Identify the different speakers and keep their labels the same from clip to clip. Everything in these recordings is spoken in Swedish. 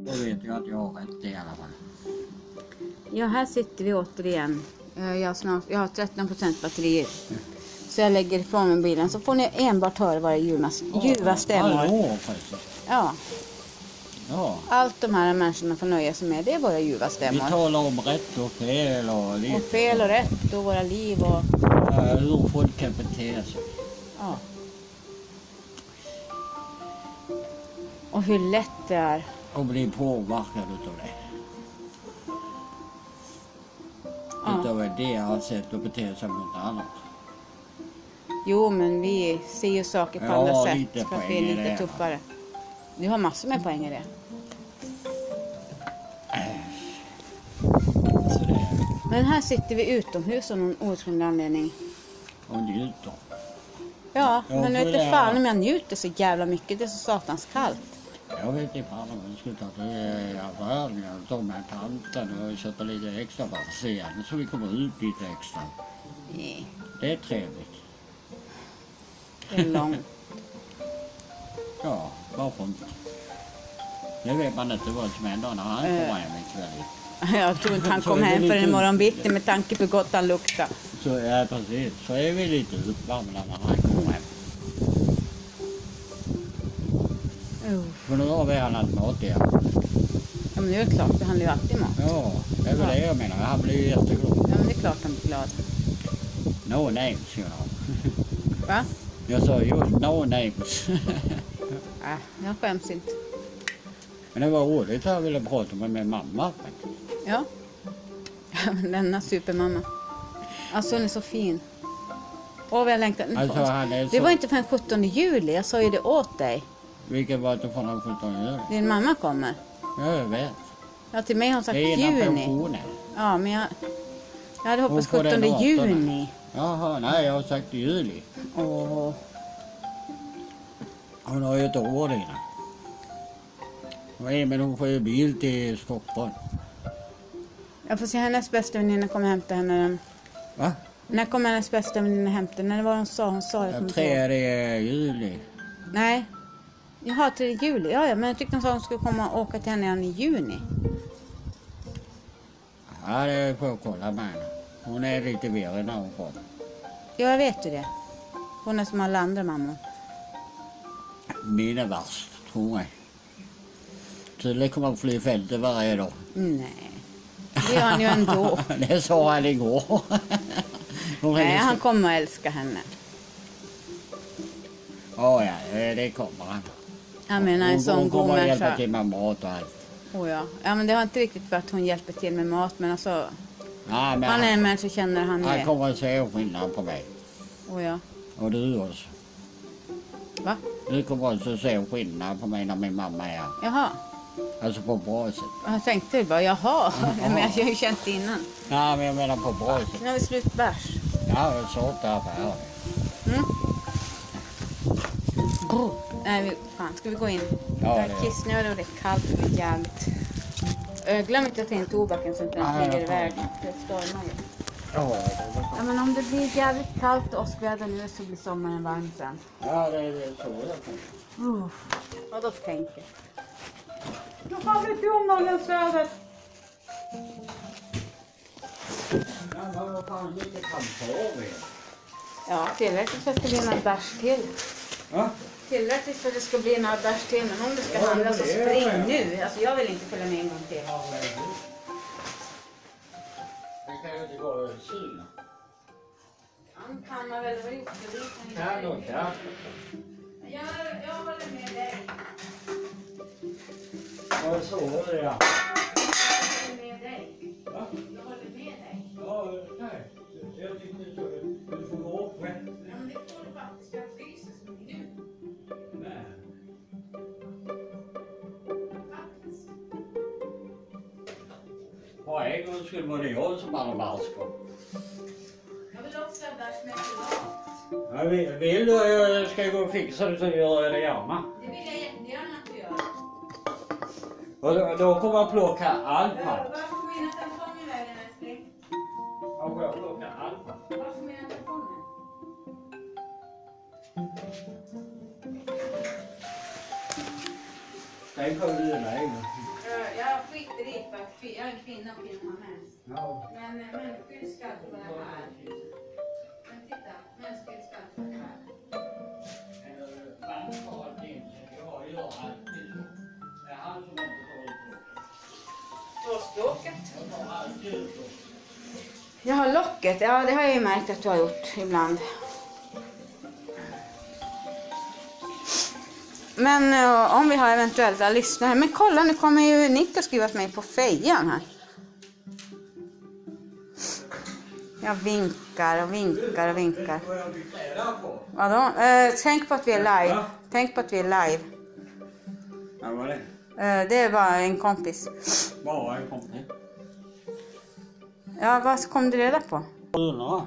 Speaker 1: Då vet jag att jag har rätt i alla fall.
Speaker 2: Ja, här sitter vi återigen. Eh, Jag har, snart, jag har 13 batteri. Så jag lägger ifrån mig bilen så får ni enbart höra våra ljuva- ljuva stämmor.
Speaker 1: Ja, precis.
Speaker 2: Ja,
Speaker 1: Ja.
Speaker 2: allt de här människorna får nöja sig med, det är våra ljuva
Speaker 1: Vi
Speaker 2: stämmor.
Speaker 1: talar om rätt och fel och lite.
Speaker 2: Och fel och rätt och våra liv och...
Speaker 1: Ja, Hur folk kan bete sig.
Speaker 2: Ja. Och hur lätt det är.
Speaker 1: Och bli påverkad utav det.
Speaker 2: Ja.
Speaker 1: Utav deras sätt att bete sig mot andra.
Speaker 2: Jo, men vi ser ju saker på
Speaker 1: Ja,
Speaker 2: andra
Speaker 1: lite
Speaker 2: sätt för att vi
Speaker 1: poäng i
Speaker 2: är lite
Speaker 1: det.
Speaker 2: tuffare. Du har massor med poäng i det.
Speaker 1: Så det är
Speaker 2: Men här sitter vi utomhus av någon outgrundlig anledning.
Speaker 1: och njuter.
Speaker 2: Ja,
Speaker 1: Ja,
Speaker 2: men
Speaker 1: så
Speaker 2: vet
Speaker 1: är det.
Speaker 2: du fan om jag njuter så jävla mycket. Det är så satans kallt.
Speaker 1: Jag vet inte fan om jag skulle ta till affären. Jag tar med tanten och köper lite extra bara för sen. Så vi kommer ut lite extra.
Speaker 2: Nej,
Speaker 1: Det är trevligt.
Speaker 2: det är långt.
Speaker 1: Ja, varför inte? Nu vet man inte vad som händer när han kommer hem ikväll.
Speaker 2: Jag tror inte han
Speaker 1: Så
Speaker 2: kom
Speaker 1: är det
Speaker 2: hem förrän
Speaker 1: lite-
Speaker 2: imorgon bitti med tanke på hur gott han luktar.
Speaker 1: Så ja, precis. Så är vi lite uppvärmda när han kommer hem.
Speaker 2: Uff.
Speaker 1: För nu har vi annat mat igen.
Speaker 2: Ja, men det är klart, det handlar ju alltid om mat.
Speaker 1: Ja, det är väl det jag menar. Han blir ju jätteglad.
Speaker 2: Ja, men det är klart han blir glad.
Speaker 1: No names, you know.
Speaker 2: Va?
Speaker 1: Jag sa just no names. Ah.
Speaker 2: Äh, jag skäms inte.
Speaker 1: Men det var roligt att jag ville prata med min mamma faktiskt.
Speaker 2: Ja. Ja, men Denna supermamma. Alltså hon är så fin. Åh vad jag längtar. Nu
Speaker 1: Alltså,
Speaker 2: får-
Speaker 1: han är
Speaker 2: Det
Speaker 1: så-
Speaker 2: var inte förrän 17 juli, jag sa ju det åt dig.
Speaker 1: Vilket var det från den 17 juli.
Speaker 2: Din mamma kommer.
Speaker 1: Ja, jag vet.
Speaker 2: Ja, till mig har hon sagt
Speaker 1: Det är innan
Speaker 2: juni.
Speaker 1: pensionen.
Speaker 2: Ja, men jag... Jag hade hoppats
Speaker 1: Hon får den
Speaker 2: 17 juni.
Speaker 1: 18. Jaha, nej jag har sagt i juli.
Speaker 2: Åh.
Speaker 1: Hon har ju ett år innan. Nej, men hon får ju bil till Stockholm.
Speaker 2: Jag får se hennes bästa väninna kommer hämta henne. den-
Speaker 1: Va?
Speaker 2: När kommer hennes bästa väninna hämta henne? När var hon sa? Hon sa jag kommer inte ihåg.
Speaker 1: Tredje juli.
Speaker 2: Nej. Jaha, 3 juli. Ja, ja, men jag tyckte hon sa att hon skulle komma och åka till henne redan i juni.
Speaker 1: Ja, det får jag kolla med henne. Hon är lite virrig när hon kommer.
Speaker 2: Ja, jag vet ju det. Hon är som alla andra mammor.
Speaker 1: Min är värst, tror jag. Tydligen kommer hon fly fältet varje dag.
Speaker 2: Nej, det gör han ju ändå.
Speaker 1: det sa han igår. Hon
Speaker 2: Nej,
Speaker 1: ringer så-
Speaker 2: han kommer att älska henne.
Speaker 1: Ja, ja, det kommer han.
Speaker 2: Han menar en
Speaker 1: Hon-
Speaker 2: sån
Speaker 1: Hon
Speaker 2: god
Speaker 1: kommer att hjälpa
Speaker 2: människa.
Speaker 1: till med mat och allt.
Speaker 2: Oh, ja. ja, men det har inte riktigt varit att hon hjälper till med mat, men alltså.
Speaker 1: Nej, men
Speaker 2: Han är
Speaker 1: han,
Speaker 2: en människa känner han
Speaker 1: han
Speaker 2: det.
Speaker 1: kommer att se skillnad på mig.
Speaker 2: Oh, ja.
Speaker 1: Och du också.
Speaker 2: Va?
Speaker 1: Du kommer också se skillnad på mig när min mamma är här.
Speaker 2: Jaha.
Speaker 1: Alltså på bra sätt.
Speaker 2: Jag tänkte bara jaha. Ja, men jag har ju känt det innan.
Speaker 1: Nej, men jag menar på bra sätt.
Speaker 2: Nu har vi slut bärs.
Speaker 1: Ja, jag sa inte affär.
Speaker 2: Mm. Nej, vi, fan, ska vi gå in?
Speaker 1: Ja,
Speaker 2: jag
Speaker 1: det
Speaker 2: är
Speaker 1: gör
Speaker 2: kissnödig och det är kallt och det är jävligt. Ö, Glöm inte att ta in tobaken så att den
Speaker 1: Ja,
Speaker 2: inte
Speaker 1: jag
Speaker 2: flyger
Speaker 1: tar
Speaker 2: iväg.
Speaker 1: den.
Speaker 2: Det stormar ju.
Speaker 1: Ja,
Speaker 2: Ja, men om det blir jävligt kallt åskväder nu så blir sommaren varm sen.
Speaker 1: ja, det är så jag tänker.
Speaker 2: Uff. Vad då tänker? Då har vi domnollen söder.
Speaker 1: Men vad fan ligger framför er?
Speaker 2: Ja, tillräckligt för att det ska bli några bärs till.
Speaker 1: Va?
Speaker 2: Tillräckligt för att det ska bli några bärs till. Men om det ska handla så spring nu. Alltså jag vill inte följa med en gång till.
Speaker 1: Det kan ju inte gå att syna.
Speaker 2: Han kan man väl ha gjort. det. Vi
Speaker 1: Kan
Speaker 2: ju-
Speaker 1: och kan.
Speaker 2: Jag, jag håller med dig.
Speaker 1: Jag såg det, ja.
Speaker 2: Jag håller med dig.
Speaker 1: Va?
Speaker 2: Jag håller med dig.
Speaker 1: Ja, nej. Jag tyckte inte det. Du får gå upp själv.
Speaker 2: Ja, men det får du faktiskt. Jag fryser som nu.
Speaker 1: Nej.
Speaker 2: Faktiskt.
Speaker 1: På en gång skulle vara det jag som hade barskap.
Speaker 2: Jag vill också ha bärs med choklad.
Speaker 1: Ja, vill vill du att jag ska gå och fixa det så gör jag det gärna.
Speaker 2: Det vill jag jättegärna att du gör.
Speaker 1: Och då, då kommer jag plocka all
Speaker 2: Ö,
Speaker 1: pant.
Speaker 2: Vart tog mina telefoner vägen älskling?
Speaker 1: Ja, får jag plocka all pant?
Speaker 2: Vart tog mina telefoner?
Speaker 1: Den kom du med.
Speaker 2: Ö, jag, Eh, jag skiter i för att jag är kvinna och kvinna har mens. Men eh, mensskydd ska på det här. Men titta, mensskydd ska på det här. Jag har locket, ja det har jag ju märkt att du har gjort ibland. Men eh, om vi har eventuella lyssnare. Men kolla nu kommer ju Nick att skriva till mig på fejan här. Jag vinkar och vinkar och vinkar. Vadå? Eh, tänk på att vi är live. Tänk på att vi är live.
Speaker 3: Ja, var det?
Speaker 2: Eh, det är bara en kompis.
Speaker 3: Bara en kompis.
Speaker 2: Ja, vad kom du reda på?
Speaker 1: Undrar.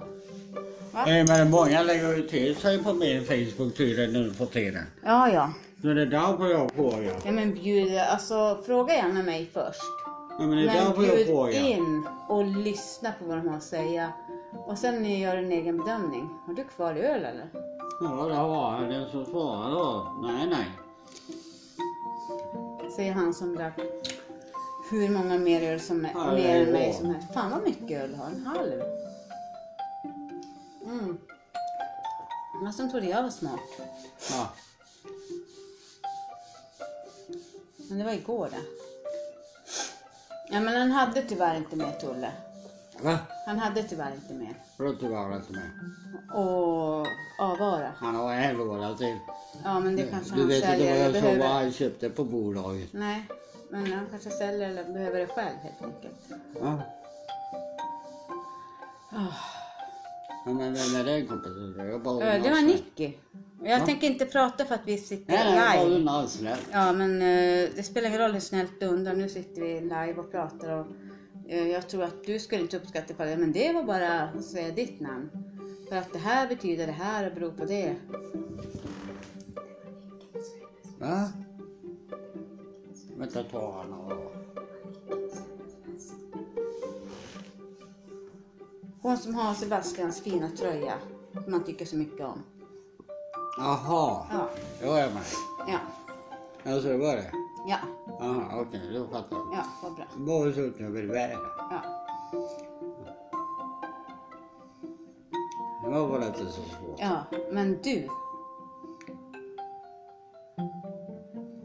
Speaker 2: Va?
Speaker 1: Eh, Men många lägger ju till sig på min Facebook tydligen nu för tiden.
Speaker 2: Ja, ja.
Speaker 1: Så det är därför jag frågar.
Speaker 2: Ja men bjud, alltså fråga gärna mig först.
Speaker 1: Ja, men det är
Speaker 2: Men
Speaker 1: därför jag
Speaker 2: bjud
Speaker 1: frågar.
Speaker 2: in och lyssna på vad de har att säga. Och sen gör en egen bedömning. Har du kvar öl eller?
Speaker 1: Ja, det var jag. Den som svarade då. Nej, nej.
Speaker 2: Säger han som drack hur många mer öl som
Speaker 1: Ja,
Speaker 2: är, mer än
Speaker 1: ja.
Speaker 2: mig som helst. Fan vad mycket öl du har, en halv. Mm. Men som trodde jag var smart.
Speaker 1: Ja.
Speaker 2: Men det var igår det. Ja men han hade tyvärr inte med Tulle.
Speaker 1: Va?
Speaker 2: Han hade tyvärr inte med.
Speaker 1: Ruttergard inte med.
Speaker 2: Och avvara.
Speaker 1: Han har en låda till.
Speaker 2: Ja, men det kanske
Speaker 1: Du
Speaker 2: han
Speaker 1: vet inte
Speaker 2: säljer
Speaker 1: vad
Speaker 2: eller
Speaker 1: jag sa
Speaker 2: behöver.
Speaker 1: vad han köpte på bolaget.
Speaker 2: Nej, men han kanske säljer eller behöver det själv helt enkelt.
Speaker 1: Ja.
Speaker 2: Ah.
Speaker 1: Ja, men vem är den kompisen? Jag bara
Speaker 2: Ö, Det var
Speaker 1: undan.
Speaker 2: Nicky. Jag tänker inte prata för att vi sitter
Speaker 1: Nej, nej, jag bara
Speaker 2: live.
Speaker 1: undan snällt.
Speaker 2: Ja, men eh, det spelar ingen roll hur snällt du undrar. Nu sitter vi live och pratar och eh, jag tror att du skulle inte uppskatta på det, men det var bara att säga ditt namn. För att det här betyder det här och beror på det.
Speaker 1: Va? Vänta, ta honom och...
Speaker 2: Hon som har Sebastians fina tröja, som man tycker så mycket om.
Speaker 1: Jaha,
Speaker 2: Ja,
Speaker 1: då är jag med.
Speaker 2: ja,
Speaker 1: Alltså, det var det?
Speaker 2: ja,
Speaker 1: Jaha, okej, då fattar jag.
Speaker 2: ja, vad bra.
Speaker 1: Bara så att jag vill vara.
Speaker 2: Ja,
Speaker 1: Det var bara inte så svårt.
Speaker 2: ja, men du.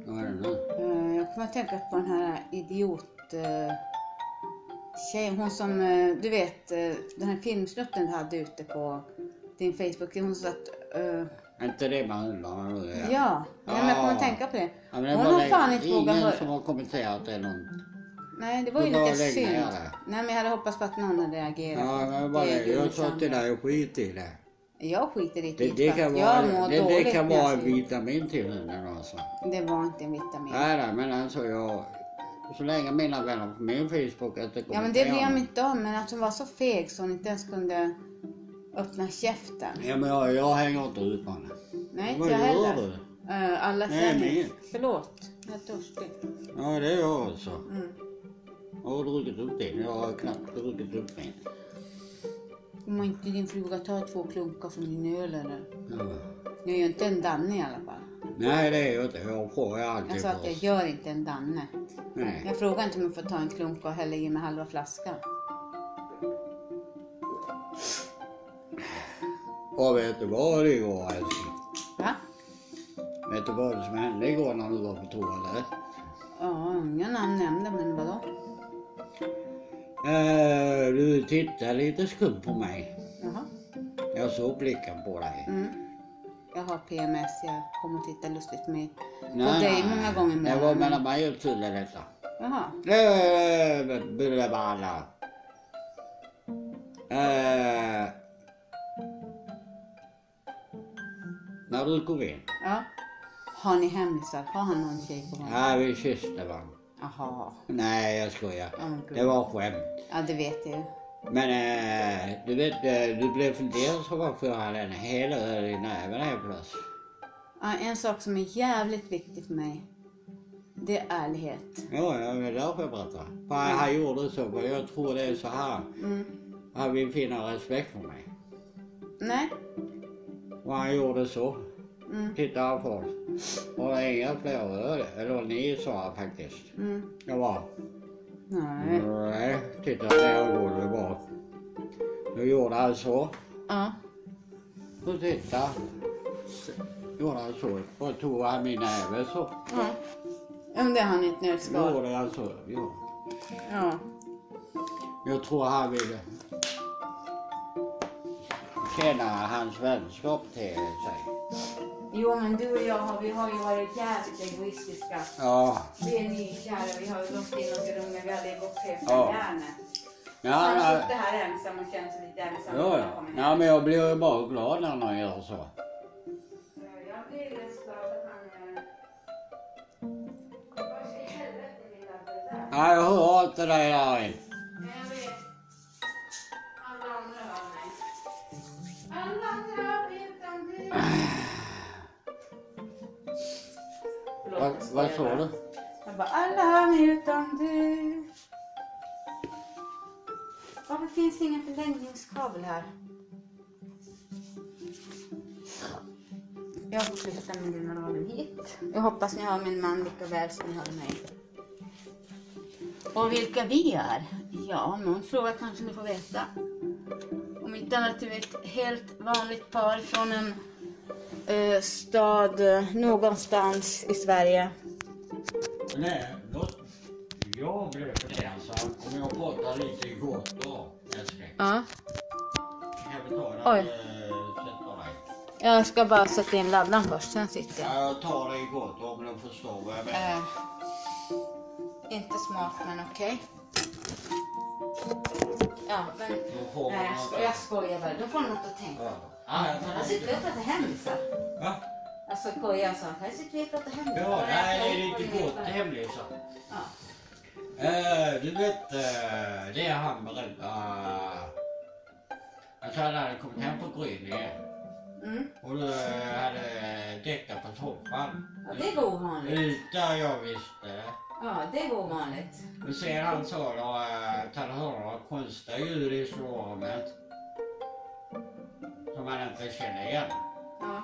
Speaker 1: Vad är det nu?
Speaker 2: Eh, Jag kommer att tänka på den här idiot... eh, Tjejen, hon som, eh, du vet, eh, den här filmsnutten du hade ute på din Facebook. Hon sa att... eh,
Speaker 1: Är inte det man undrar nu?
Speaker 2: ja, Nej, men jag kommer att
Speaker 1: Ja.
Speaker 2: tänka på det.
Speaker 1: Ja, men det
Speaker 2: Hon
Speaker 1: var
Speaker 2: har
Speaker 1: väl
Speaker 2: fan inte
Speaker 1: ingen
Speaker 2: vågat
Speaker 1: som
Speaker 2: höra.
Speaker 1: har kommenterat det någon.
Speaker 2: Nej, det var ju
Speaker 1: Det var
Speaker 2: lite
Speaker 1: länge,
Speaker 2: synd.
Speaker 1: ja, det.
Speaker 2: Nej, men jag hade hoppats på att någon hade reagerat.
Speaker 1: Ja,
Speaker 2: på
Speaker 1: men bara
Speaker 2: det
Speaker 1: det.
Speaker 2: du
Speaker 1: Jag
Speaker 2: och
Speaker 1: sa till
Speaker 2: Sandra.
Speaker 1: dig, skit i det.
Speaker 2: Jag skiter i
Speaker 1: Det,
Speaker 2: skit
Speaker 1: det
Speaker 2: för
Speaker 1: kan
Speaker 2: att
Speaker 1: vara,
Speaker 2: jag mår
Speaker 1: det,
Speaker 2: dåligt
Speaker 1: det kan
Speaker 2: när jag
Speaker 1: vara en
Speaker 2: skriver.
Speaker 1: vitamin till henne. Alltså.
Speaker 2: Det var inte en vitamin.
Speaker 1: Nej, nej, men alltså jag... Så länge mina vänner på min Facebook inte
Speaker 2: Ja men det bryr jag
Speaker 1: kommenterar
Speaker 2: mig inte om, men att hon var så feg så hon inte ens kunde öppna käften.
Speaker 1: Ja, men jag, jag hänger inte ut på henne.
Speaker 2: Nej,
Speaker 1: Vad
Speaker 2: inte jag
Speaker 1: gör
Speaker 2: heller.
Speaker 1: du?
Speaker 2: Eh, alla
Speaker 1: Nej,
Speaker 2: säger
Speaker 1: men ingen.
Speaker 2: Förlåt, jag är törstig.
Speaker 1: Ja, det är jag också.
Speaker 2: Mm.
Speaker 1: Jag har druckit upp din. Jag har knappt druckit upp min.
Speaker 2: Kommer inte din fruga ta två klunkar från din öl eller?
Speaker 1: Ja.
Speaker 2: Jag gör inte en danne i alla fall.
Speaker 1: Nej, det är jag inte. Jag frågar
Speaker 2: Jag
Speaker 1: alltid
Speaker 2: sa att jag
Speaker 1: först.
Speaker 2: gör inte en danne.
Speaker 1: Nej.
Speaker 2: Jag frågar inte om jag får ta en klunk och hälla i mig halva flaskan.
Speaker 1: Och vet du vad det var, älskling?
Speaker 2: Va?
Speaker 1: Vet du vad som hände igår när du var på toalett?
Speaker 2: Ja, inga namn nämnda, men vadå?
Speaker 1: Eh, du tittade lite skumt på mig.
Speaker 2: Jaha.
Speaker 1: Jag såg blicken på dig.
Speaker 2: Mm. Jag har PMS, jag kommer att titta lustigt med på
Speaker 1: Nej,
Speaker 2: dig
Speaker 1: nej.
Speaker 2: många gånger i
Speaker 1: Det var
Speaker 2: månaden.
Speaker 1: mellan mig och Tulle detta.
Speaker 2: Jaha.
Speaker 1: Eh, Bulleballa. Eh, när du kom in.
Speaker 2: Ja. Har ni hemlisar? Har han någon tjej på gång?
Speaker 1: Ja, vi kysste varandra.
Speaker 2: Jaha.
Speaker 1: Nej, jag skojar.
Speaker 2: Ja, men gud.
Speaker 1: Det var skämt.
Speaker 2: Ja, det vet jag ju.
Speaker 1: Men eh, du vet, eh, du blev fundersam på varför jag hade en hel öl i näven helt plötsligt.
Speaker 2: Ja, en sak som är jävligt viktig för mig, det är ärlighet.
Speaker 1: Ja, ja, det är därför jag berättar. För han han gjorde så, men jag tror det är så här.
Speaker 2: Mm.
Speaker 1: Han vill finna respekt för mig.
Speaker 2: Nej.
Speaker 1: Och han gjorde så.
Speaker 2: Mm.
Speaker 1: Tittade på oss. Och det inga fler öl, eller ni sa faktiskt.
Speaker 2: Mm.
Speaker 1: Jag bara, Mm.
Speaker 2: Nej.
Speaker 1: nej, titta ner och går det bra. Nu gjorde han så,
Speaker 2: Ja.
Speaker 1: och titta. Gjorde han så, och tog han min näve så.
Speaker 2: ja. Ja, men det har ni ett nötskal.
Speaker 1: Gjorde han så, ja.
Speaker 2: Ja.
Speaker 1: Jag tror han ville känna hans vänskap till sig.
Speaker 2: Jo, men du och jag har, vi har ju varit jävligt egoistiska.
Speaker 1: Ja,
Speaker 2: Vi är nykära, vi har ju gått in och grumlat, vi hade gått på
Speaker 1: Ja.
Speaker 2: hjärnet.
Speaker 1: ja,
Speaker 2: Han har
Speaker 1: ja,
Speaker 2: suttit här ensam och känt sig lite ensam. när
Speaker 1: ja,
Speaker 2: han
Speaker 1: ja.
Speaker 2: kommer hem.
Speaker 1: ja men jag blir ju bara glad när han gör så.
Speaker 2: Jag blir just glad att han... eh, Vars i helvete vill han det där?
Speaker 1: Nej, jag hör inte dig Larry.
Speaker 2: Men jag vet. Alla andra hör mig. Alla andra vet om
Speaker 1: Ah.
Speaker 2: det. Förlåt,
Speaker 1: Vad,
Speaker 2: jag skojar
Speaker 1: vad sa du?
Speaker 2: bara. Jag bara, alla hör mig utom du. Varför finns det ingen förlängningskabel här? Jag flyttar med dina rader hit. Jag hoppas ni hör min man lika väl som ni hör mig. Och vilka vi är? Ja, någon fråga kanske ni får veta. Om inte annat är vi ett helt vanligt par från en eh, stad eh, någonstans i Sverige.
Speaker 1: Nej, låt... Jag blev förtjänsam om jag pratar lite i gåtor, älskling.
Speaker 2: Ja.
Speaker 1: Kan vi ta den?
Speaker 2: Oj.
Speaker 1: eh, Sätta dig.
Speaker 2: Jag ska bara sätta in laddan först, sen sitter jag.
Speaker 1: Ja, jag tar det i gåtor om du förstår vad jag menar.
Speaker 2: Eh, inte smart, men okej. Ja, men...
Speaker 1: Då får man...
Speaker 2: Nej, jag, sko- jag skojar bara. Då får något att tänka
Speaker 1: Ja.
Speaker 2: på.
Speaker 1: Ja, jag
Speaker 2: Här
Speaker 1: tar
Speaker 2: sitter vi
Speaker 1: det.
Speaker 2: och pratar hemlisar.
Speaker 1: Va?
Speaker 2: Alltså skojar så. Här sitter vi och pratar hemlisar.
Speaker 1: Ja, nej, det är lite gott hemlisar.
Speaker 2: Ja.
Speaker 1: Eh, du vet, eh, det är han berättade. Alltså han hade kommit hem från Gryninge
Speaker 2: Mm.
Speaker 1: och då hade däckat på soffan.
Speaker 2: Ja, det går ovanligt.
Speaker 1: Ut där jag visste.
Speaker 2: Ja, det går ovanligt.
Speaker 1: Men sen han sa då eh, att han hörde några konstiga ljud i sovrummet. Som han inte känner igen.
Speaker 2: Ja.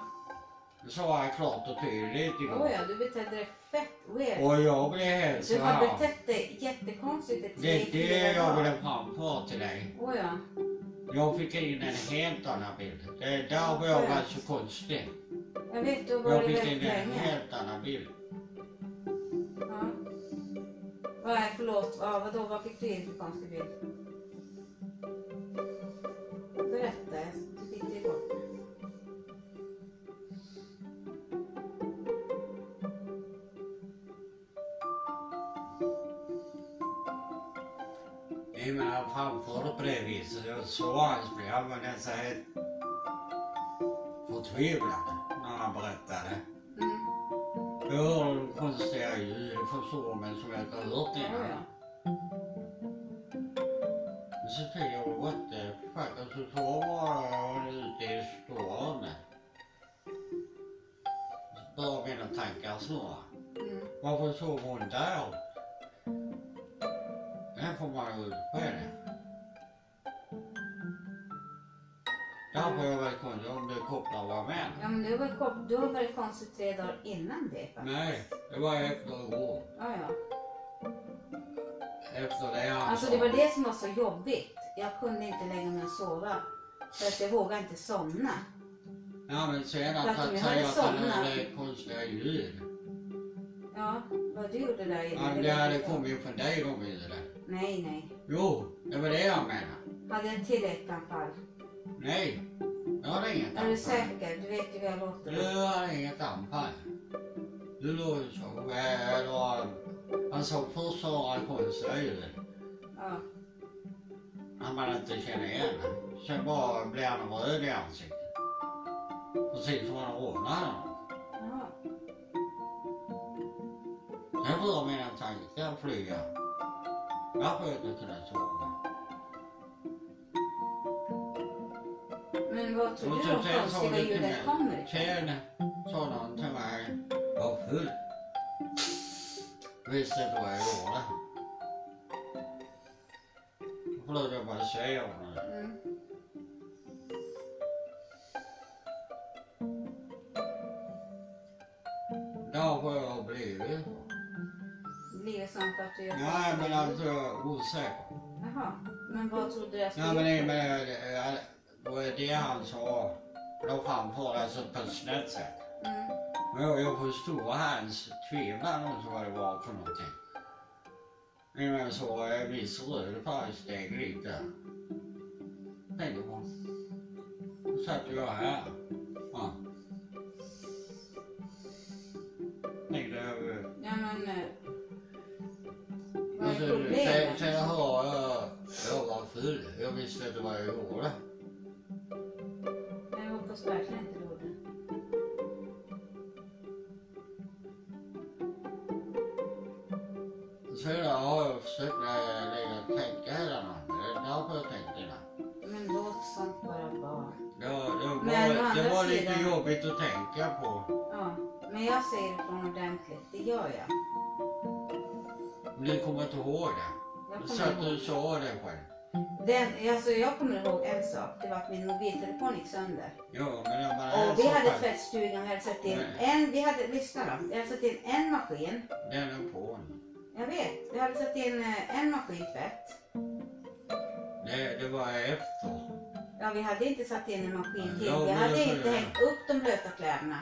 Speaker 1: Det sa han klart och tydligt
Speaker 2: Oh,
Speaker 1: igår.
Speaker 2: ja, du betedde dig fett weird.
Speaker 1: Och jag blev helt
Speaker 2: Du
Speaker 1: så
Speaker 2: har
Speaker 1: här.
Speaker 2: betett dig jättekonstigt i
Speaker 1: Det
Speaker 2: tre,
Speaker 1: är det
Speaker 2: fyra
Speaker 1: jag
Speaker 2: dagar.
Speaker 1: ville framföra till dig.
Speaker 2: Oh, ja.
Speaker 1: Jag fick in en helt annan bild. Det är där var jag var så konstig.
Speaker 2: Jag vet, du har
Speaker 1: Jag
Speaker 2: varit
Speaker 1: fick in
Speaker 2: väldigt
Speaker 1: en
Speaker 2: länge.
Speaker 1: helt annan bild.
Speaker 2: Ja. Vad är, förlåt, ja, vadå, vad fick du in för konstig bild? Berätta, jag- du fick det igår.
Speaker 1: I och med att han framförde på det viset, jag såg hans bild. Han var nästan helt förtvivlad när han berättade.
Speaker 2: Mm.
Speaker 1: Jag hörde de konstiga ljud från sovrummet som jag inte har hört
Speaker 2: Ja,
Speaker 1: innan.
Speaker 2: ja.
Speaker 1: Men så tänkte jag, what the fuck? Och så sover jag ute i storrummet. Så började mina tankar snurra.
Speaker 2: Mm.
Speaker 1: Varför sov hon där? Där får man ju på henne. Där får jag väl kolla om det kopplar var med.
Speaker 2: ja, men du var, kop- du har varit konstig tre dagar innan det. faktiskt.
Speaker 1: Nej, det var efter igår.
Speaker 2: Ja, ja.
Speaker 1: Efter det han
Speaker 2: Alltså
Speaker 1: sa.
Speaker 2: det var det som var så jobbigt. Jag kunde inte lägga mig och sova. För att jag vågade inte somna.
Speaker 1: Ja men sen
Speaker 2: För
Speaker 1: att
Speaker 2: att
Speaker 1: han
Speaker 2: vi hade
Speaker 1: säger att han
Speaker 2: somnat.
Speaker 1: hörde konstiga ljud.
Speaker 2: Ja, vad du gjorde där
Speaker 1: Ja, men
Speaker 2: var
Speaker 1: det hade
Speaker 2: inte-
Speaker 1: kommit från dig de ljuden.
Speaker 2: Nej, nej.
Speaker 1: Jo, det var det jag menade.
Speaker 2: Hade jag till ett anfall?
Speaker 1: Nej, jag hade inget
Speaker 2: Är du
Speaker 1: anfall.
Speaker 2: säker? Du vet ju hur jag låter.
Speaker 1: Du har inget anfall. Du låg ju så väl och... Alltså först sa han konstiga ljud.
Speaker 2: Ja.
Speaker 1: Han man inte känner igen. Sen bara blev han röd i ansiktet. Precis som han rånade någon.
Speaker 2: Ja.
Speaker 1: Sen började mina tankar flyga. Varför jag inte kunde sova.
Speaker 2: Men vad tror
Speaker 1: Och
Speaker 2: du
Speaker 1: så
Speaker 2: de
Speaker 1: sen sa
Speaker 2: konstiga
Speaker 1: du till
Speaker 2: ljuden
Speaker 1: mig.
Speaker 2: kommer ifrån?
Speaker 1: Sen sa någon till mig. Var full. Visste inte vad jag gjorde. Då försökte jag bara säga honom det.
Speaker 2: Mm.
Speaker 1: Där vad jag har blivit.
Speaker 2: Blir sånt att du...
Speaker 1: Nej men alltså osäker.
Speaker 2: Jaha, men vad trodde du jag skulle...
Speaker 1: Nej men det men, eh, det var det han sa. La framför alltså på ett snällt sätt.
Speaker 2: Mm.
Speaker 1: Men jag, jag förstod hans tvivel om vad det var för någonting. Men jag såg en viss röd färgsteg lite. Tänkte på. Då satt jag här. Ja. Tänkte jag. eh,
Speaker 2: Ja, men... eh, Vad är
Speaker 1: Sen, sen,
Speaker 2: problemet?
Speaker 1: sen hör jag, jag var full. Jag visste inte vad jag gjorde.
Speaker 2: Jag hoppas verkligen inte du gjorde.
Speaker 1: Sedan har jag försökt eh, lägga och tänka hela natten. Det är därför jag tänkte det.
Speaker 2: Men låt sånt vara vara.
Speaker 1: Ja, det var,
Speaker 2: Men å andra
Speaker 1: det var lite
Speaker 2: sidan-
Speaker 1: jobbigt att tänka på.
Speaker 2: Ja, men jag säger ifrån ordentligt. Det gör jag.
Speaker 1: Men du kommer inte ihåg det.
Speaker 2: Jag
Speaker 1: Så
Speaker 2: kommer
Speaker 1: att
Speaker 2: ihåg.
Speaker 1: du sa det själv.
Speaker 2: Den, alltså jag kommer ihåg en sak. Det var att min mobiltelefon gick sönder.
Speaker 1: Ja, men när man är
Speaker 2: Och vi
Speaker 1: så
Speaker 2: hade
Speaker 1: pass-
Speaker 2: tvättstugan. Vi hade satt in
Speaker 1: Nej.
Speaker 2: en... Vi hade, lyssna då. Vi hade satt in en maskin.
Speaker 1: Den är på nu.
Speaker 2: Jag vet. Vi hade satt in eh, en maskin tvätt.
Speaker 1: det, det var efter.
Speaker 2: Ja, vi hade inte satt in en maskin till.
Speaker 1: Ja,
Speaker 2: Vi
Speaker 1: men
Speaker 2: hade
Speaker 1: det var
Speaker 2: inte
Speaker 1: det.
Speaker 2: hängt upp de blöta kläderna.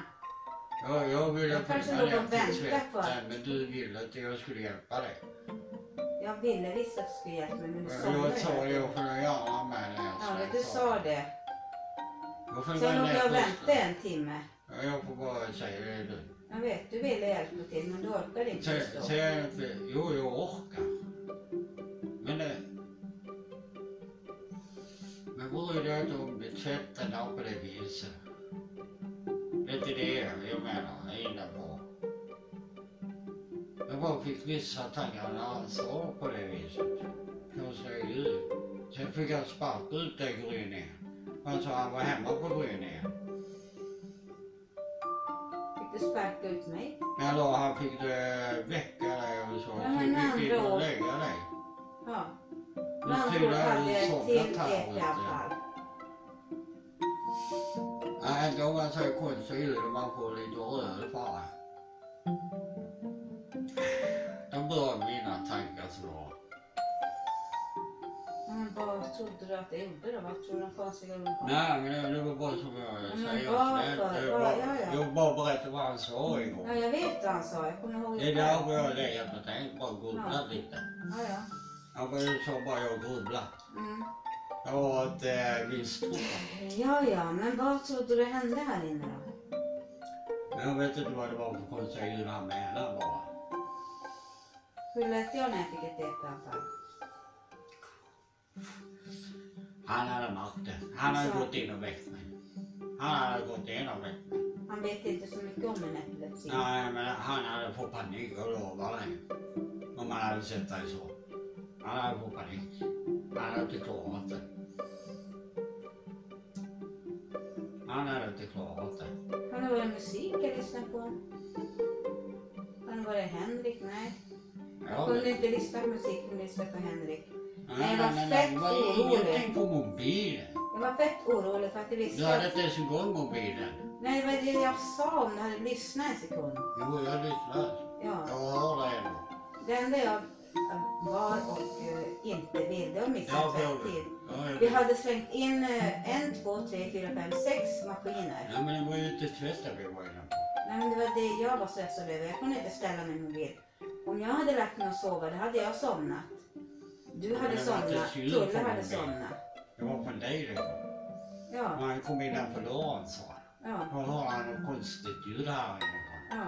Speaker 1: Ja, jag ville
Speaker 2: Jag kanske
Speaker 1: följa
Speaker 2: låg och
Speaker 1: dig
Speaker 2: väntade
Speaker 1: till
Speaker 2: på-
Speaker 1: tvätten, men du ville att jag skulle hjälpa dig.
Speaker 2: Jag ville visst att du skulle hjälpa mig, men du sa
Speaker 1: Jag sa det,
Speaker 2: det.
Speaker 1: jag får gärna med dig.
Speaker 2: Ja, men du sa det.
Speaker 1: Jag får
Speaker 2: Sen
Speaker 1: gå
Speaker 2: låg
Speaker 1: ner
Speaker 2: jag och
Speaker 1: först.
Speaker 2: väntade en timme.
Speaker 1: Ja, Jag får bara säga det nu.
Speaker 2: Jag vet, du ville hjälpa till men du orkade inte
Speaker 1: Sen,
Speaker 2: förstå.
Speaker 1: sen, jo, jag orkar. Men det... Men bryr jag inte om tvättarna på det viset. Det är inte det jag menar, jag är inne på. Jag bara fick vissa tankar och ansvar på det viset. Jag säger ju. Sen fick jag sparka ut den gryningen. Han sa han var hemma på gryningen.
Speaker 2: Fick du sparka ut mig?
Speaker 1: Men då han fick eh, väcka dig och så.
Speaker 2: Ja, men
Speaker 1: så
Speaker 2: med
Speaker 1: fick vi
Speaker 2: andra
Speaker 1: gå och
Speaker 2: ord.
Speaker 1: lägga dig.
Speaker 2: Ja.
Speaker 1: Du
Speaker 2: Men
Speaker 1: tydligen
Speaker 2: hon
Speaker 1: hade
Speaker 2: hade
Speaker 1: somnat
Speaker 2: en till
Speaker 1: här
Speaker 2: ett i
Speaker 1: ute.
Speaker 2: alla fall.
Speaker 1: Nej, då man säger konstiga ljud och man får lite röd färg. De bör mina tankar så bra.
Speaker 2: Ja, Men vad trodde du att jag gjorde då? Vad tror du de konstiga orden kom?
Speaker 1: Nej, men det- det var bara som jag
Speaker 2: Men
Speaker 1: säger.
Speaker 2: varför?
Speaker 1: snällt. Jag
Speaker 2: Vad-
Speaker 1: bara-
Speaker 2: ja, ja.
Speaker 1: Jag bara berättar vad han sa
Speaker 2: Ja,
Speaker 1: igår.
Speaker 2: jag vet vad han sa. Jag kommer ihåg
Speaker 1: Det är
Speaker 2: själv.
Speaker 1: därför jag har legat och tänkt, bara grubblat lite.
Speaker 2: Ja, ja.
Speaker 1: Han bara, du sa bara jag grubblar.
Speaker 2: Mm.
Speaker 1: Jag har ett eh, visst tro.
Speaker 2: Eh, Ja, ja, men vad trodde du hände här inne då?
Speaker 1: Men jag vet inte vad det var för konstiga ljud han menade bara.
Speaker 2: Hur lät jag när jag fick ett ett i alla fall?
Speaker 1: Han hade märkt det. Han hade gått in och väckt mig. Han hade gått in och väckt mig.
Speaker 2: Han vet inte så mycket om min epilepsi.
Speaker 1: Nej, men han hade fått panik och lovar dig. Om han hade sett dig så. Han hade fått panik. Han hade inte klarat det. Han hade inte klarat det.
Speaker 2: Har det varit musik jag lyssnar på? Har det varit Henrik? Nej. Jag
Speaker 1: Ja,
Speaker 2: kunde
Speaker 1: men-
Speaker 2: inte lyssna på musik, jag kunde lyssna på Henrik.
Speaker 1: nej,
Speaker 2: jag var
Speaker 1: nej,
Speaker 2: fett
Speaker 1: nej, vad
Speaker 2: orolig.
Speaker 1: ingenting på mobilen.
Speaker 2: Jag var fett orolig för att du
Speaker 1: Du
Speaker 2: visste
Speaker 1: hade
Speaker 2: att...
Speaker 1: inte ens igång mobilen.
Speaker 2: Nej, det var det jag sa om du hade lyssnat en sekund.
Speaker 1: Jo, jag lyssnade. Jag
Speaker 2: Ja.
Speaker 1: hör dig ändå.
Speaker 2: Det enda jag eh, var och eh, inte ville och
Speaker 1: Ja,
Speaker 2: missade
Speaker 1: bra.
Speaker 2: tvätt till.
Speaker 1: Ja, jag
Speaker 2: Vi
Speaker 1: vet.
Speaker 2: hade slängt in eh, en, två, tre, fyra, fem, sex maskiner.
Speaker 1: Ja, men det var ju inte tvätten vi var inne på.
Speaker 2: Nej, men det var det jag var stressad över. Jag kunde inte ställa min mobil. Om jag hade lagt mig och sova, då hade jag somnat. Du hade
Speaker 1: det var inte
Speaker 2: somnat,
Speaker 1: synd
Speaker 2: Tulle
Speaker 1: för
Speaker 2: hade
Speaker 1: mobilen.
Speaker 2: somnat.
Speaker 1: Det var från dig det kom.
Speaker 2: Ja,
Speaker 1: Han kom innanför dörren sa han.
Speaker 2: ja.
Speaker 1: Då hör han något konstigt ljud här inne.
Speaker 2: Ja.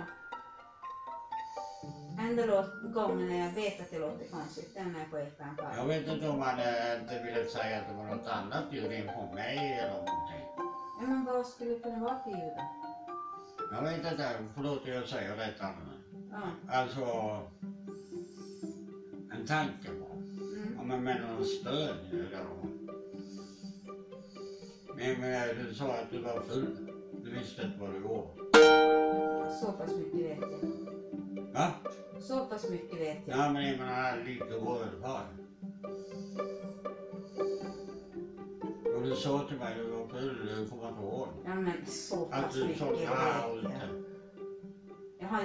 Speaker 2: Enda lå- gången när jag vet att det låter konstigt, den är på ett anfall.
Speaker 1: Jag vet inte om han eh, inte ville säga att det var något annat ljud in på mig eller någonting.
Speaker 2: Ja, men vad skulle det kunna vara för ljud då?
Speaker 1: Jag vet inte, förlåt att jag säger detta men.
Speaker 2: Ja.
Speaker 1: Alltså, en tanke bara.
Speaker 2: Mm.
Speaker 1: Om man menar någon spön eller något. Men, men du sa att du var full. Du visste inte vad det var.
Speaker 2: Så pass mycket vet jag.
Speaker 1: Va?
Speaker 2: Så pass mycket vet jag.
Speaker 1: Ja, men jag menar lite röd färg. Och du sa till mig, du var full, du kommer inte ihåg.
Speaker 2: Ja, men så
Speaker 1: Att
Speaker 2: pass
Speaker 1: du
Speaker 2: mycket vet
Speaker 1: somnade här
Speaker 2: jag.
Speaker 1: ute.
Speaker 2: Ja, Jag, har,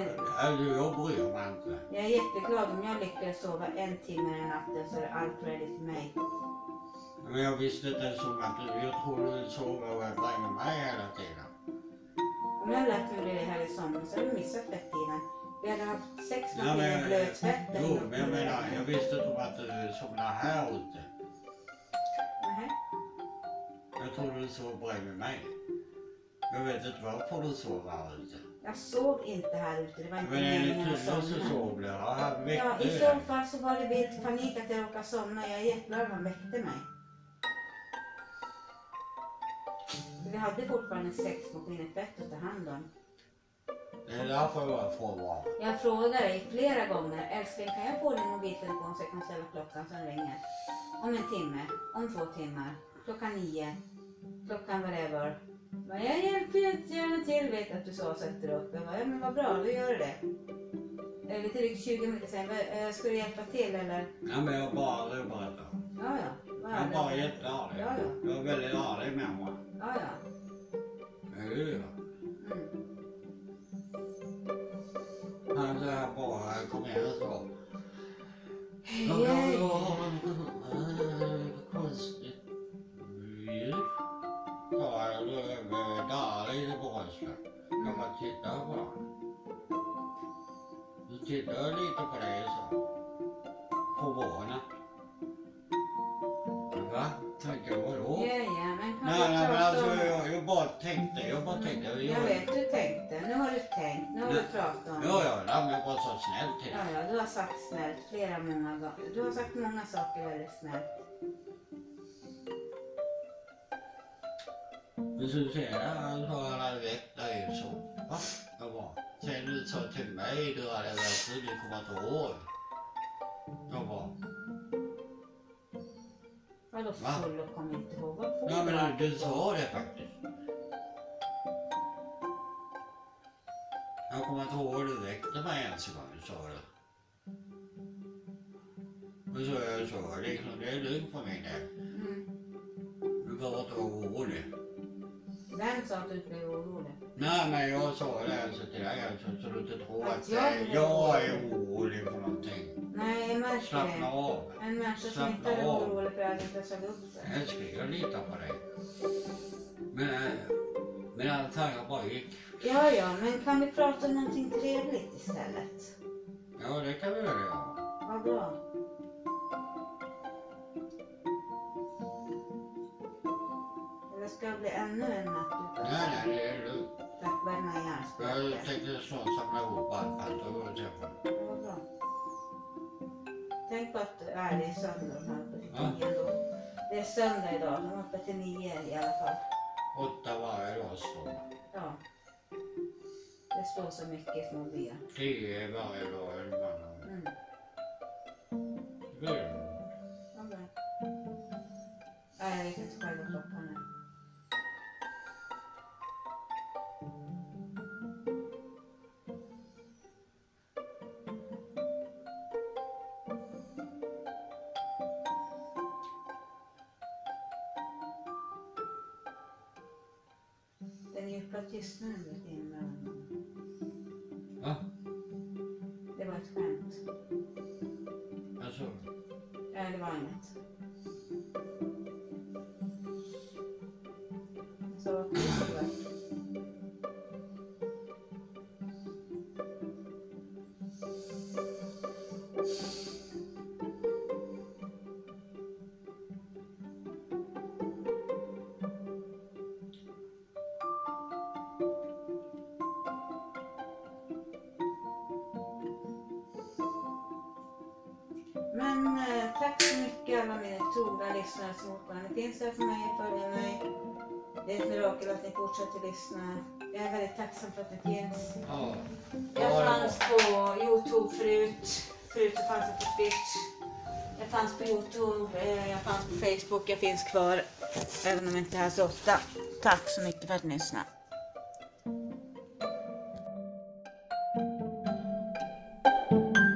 Speaker 1: Alltså jag bryr mig inte.
Speaker 2: jag är jätteglad om jag lyckas sova en timme den natten så är allt ready för mig.
Speaker 1: Men jag visste inte ens om att du, jag trodde du sov och jag bredvid mig hela tiden.
Speaker 2: Om jag hade lagt mig bredvid här i sommar så hade vi missat tvättiden. Vi hade haft sex
Speaker 1: Ja,
Speaker 2: dagar
Speaker 1: men-
Speaker 2: blötvätt.
Speaker 1: Jo, men jag menar, jag visste inte om att du somnade här ute.
Speaker 2: Nähä.
Speaker 1: Jag trodde du sov bredvid mig. Jag vet inte varför du sov här ute.
Speaker 2: Jag sov inte här ute. Det var inte
Speaker 1: Men enligt
Speaker 2: meningen att
Speaker 1: tusen så
Speaker 2: somna.
Speaker 1: sov du. Ja, han
Speaker 2: Ja,
Speaker 1: väckte
Speaker 2: i
Speaker 1: dig.
Speaker 2: så fall så var det vilt panik att jag råkade somna. Jag är jätteglad att han väckte mig. Vi hade fortfarande sexmaskinertvätt att ta hand om.
Speaker 1: Det är därför jag frågar.
Speaker 2: Jag frågade dig flera gånger, älskling kan jag få din mobiltelefon så jag kan ställa klockan som ringer? Om en timme, om två timmar, klockan nio, klockan whatever. Men jag hjälper gärna till, vet att du sa och sätter upp. Jag bara, ja men vad bra, då gör du det. Eh, Lite drygt 20 minuter sen, "Va- eh, ska du hjälpa till eller?
Speaker 1: Ja, men jag bara berättar.
Speaker 2: Ja, ja. vad
Speaker 1: Jag
Speaker 2: är
Speaker 1: är
Speaker 2: det?"
Speaker 1: bara jättearg.
Speaker 2: Ja, ja.
Speaker 1: Jag är väldigt arg mamma.
Speaker 2: Ja, ja.
Speaker 1: Ja.
Speaker 2: Mm.
Speaker 1: Han säger bara, kom igen och sov. Jag
Speaker 2: Hej.
Speaker 1: har en konstig ljud. Ja, jag darrar lite på rösten. Jag bara tittar på honom. Så tittar jag lite på dig så. Förvånad. Va? Tänkte jag, vadå?
Speaker 2: Ja, ja, men kan
Speaker 1: Nej,
Speaker 2: vi
Speaker 1: nej, men
Speaker 2: prata
Speaker 1: alltså
Speaker 2: om-
Speaker 1: jag, jag bara tänkte, jag bara tänkte.
Speaker 2: Mm, Jag vet du tänkte, nu har du tänkt, nu har du
Speaker 1: Nej.
Speaker 2: pratat om
Speaker 1: Ja, ja, nej, men jag var så snäll till
Speaker 2: Ja,
Speaker 1: dig.
Speaker 2: ja, du har sagt snällt flera många gånger. Du har sagt många saker väldigt snällt.
Speaker 1: Men så ser jag, han sa han hade väckt dig och så. Va? Jag bara, sen du sa till mig, du hade varit full, du kommer inte ihåg. Jag bara,
Speaker 2: Vadå
Speaker 1: Va?
Speaker 2: full och kom inte ihåg? Vad full
Speaker 1: nej
Speaker 2: var
Speaker 1: men du sa det faktiskt. Jag kommer inte ihåg hur du väckte mig ens en gång, sa du. Och så jag så, liksom, det är lugnt för min del.
Speaker 2: Mm.
Speaker 1: Du behöver inte vara orolig.
Speaker 2: Vem sa att du blev orolig?
Speaker 1: Nej, men jag sa det alltså till dig alltså, så du inte tror
Speaker 2: Att
Speaker 1: att
Speaker 2: jag
Speaker 1: jag,
Speaker 2: blev
Speaker 1: jag är
Speaker 2: orolig.
Speaker 1: orolig för någonting.
Speaker 2: Nej, jag märker
Speaker 1: Slappna
Speaker 2: det.
Speaker 1: av.
Speaker 2: En människa som inte
Speaker 1: Slappna
Speaker 2: är
Speaker 1: av.
Speaker 2: orolig för att inte sög upp sig.
Speaker 1: Älskling, jag litar på dig. Men, eh, mina tankar bara gick.
Speaker 2: Ja, ja, men kan vi prata om någonting trevligt istället?
Speaker 1: Ja, det kan vi väl göra.
Speaker 2: Vad bra. Eller ska det bli ännu en natt utan
Speaker 1: Nej, nej, det är lugnt.
Speaker 2: tappvärma i
Speaker 1: Jag
Speaker 2: hjärnspöket?
Speaker 1: tänkte snart samla ihop allt, allt och gå och träffa dig.
Speaker 2: Vad bra. Tänk på att det är det är söndag de har öppet
Speaker 1: Ja.
Speaker 2: till nio ändå. Det är söndag idag, de har öppet till nio i alla fall.
Speaker 1: Åtta varje dag står.
Speaker 2: Ja. Det står så mycket i små byar.
Speaker 1: Tio varje dag, en man.
Speaker 2: Mm.
Speaker 1: Det är lugnt.
Speaker 2: vad bra. Nej, jag vet inte själv vad klockan är. Den djupa tystnaden gick in mellan dem.
Speaker 1: Va?
Speaker 2: Det var ett skämt.
Speaker 1: Alltså,
Speaker 2: Nej, det var inget. Så vad tyst det var. Men eh, tack så mycket alla mina trogna lyssnare som fortfarande finns här för mig och följer mig. Det är ett mirakel att ni fortsätter lyssna. Jag är väldigt tacksam för att ni finns.
Speaker 1: ja.
Speaker 2: Jag
Speaker 1: Ja, det var-
Speaker 2: fanns på Youtube förut. Förut så fanns jag på Twitch. Jag fanns på Youtube, eh, jag fanns på Facebook, jag finns kvar. Även om jag inte är här så ofta. Tack så mycket för att ni lyssnade.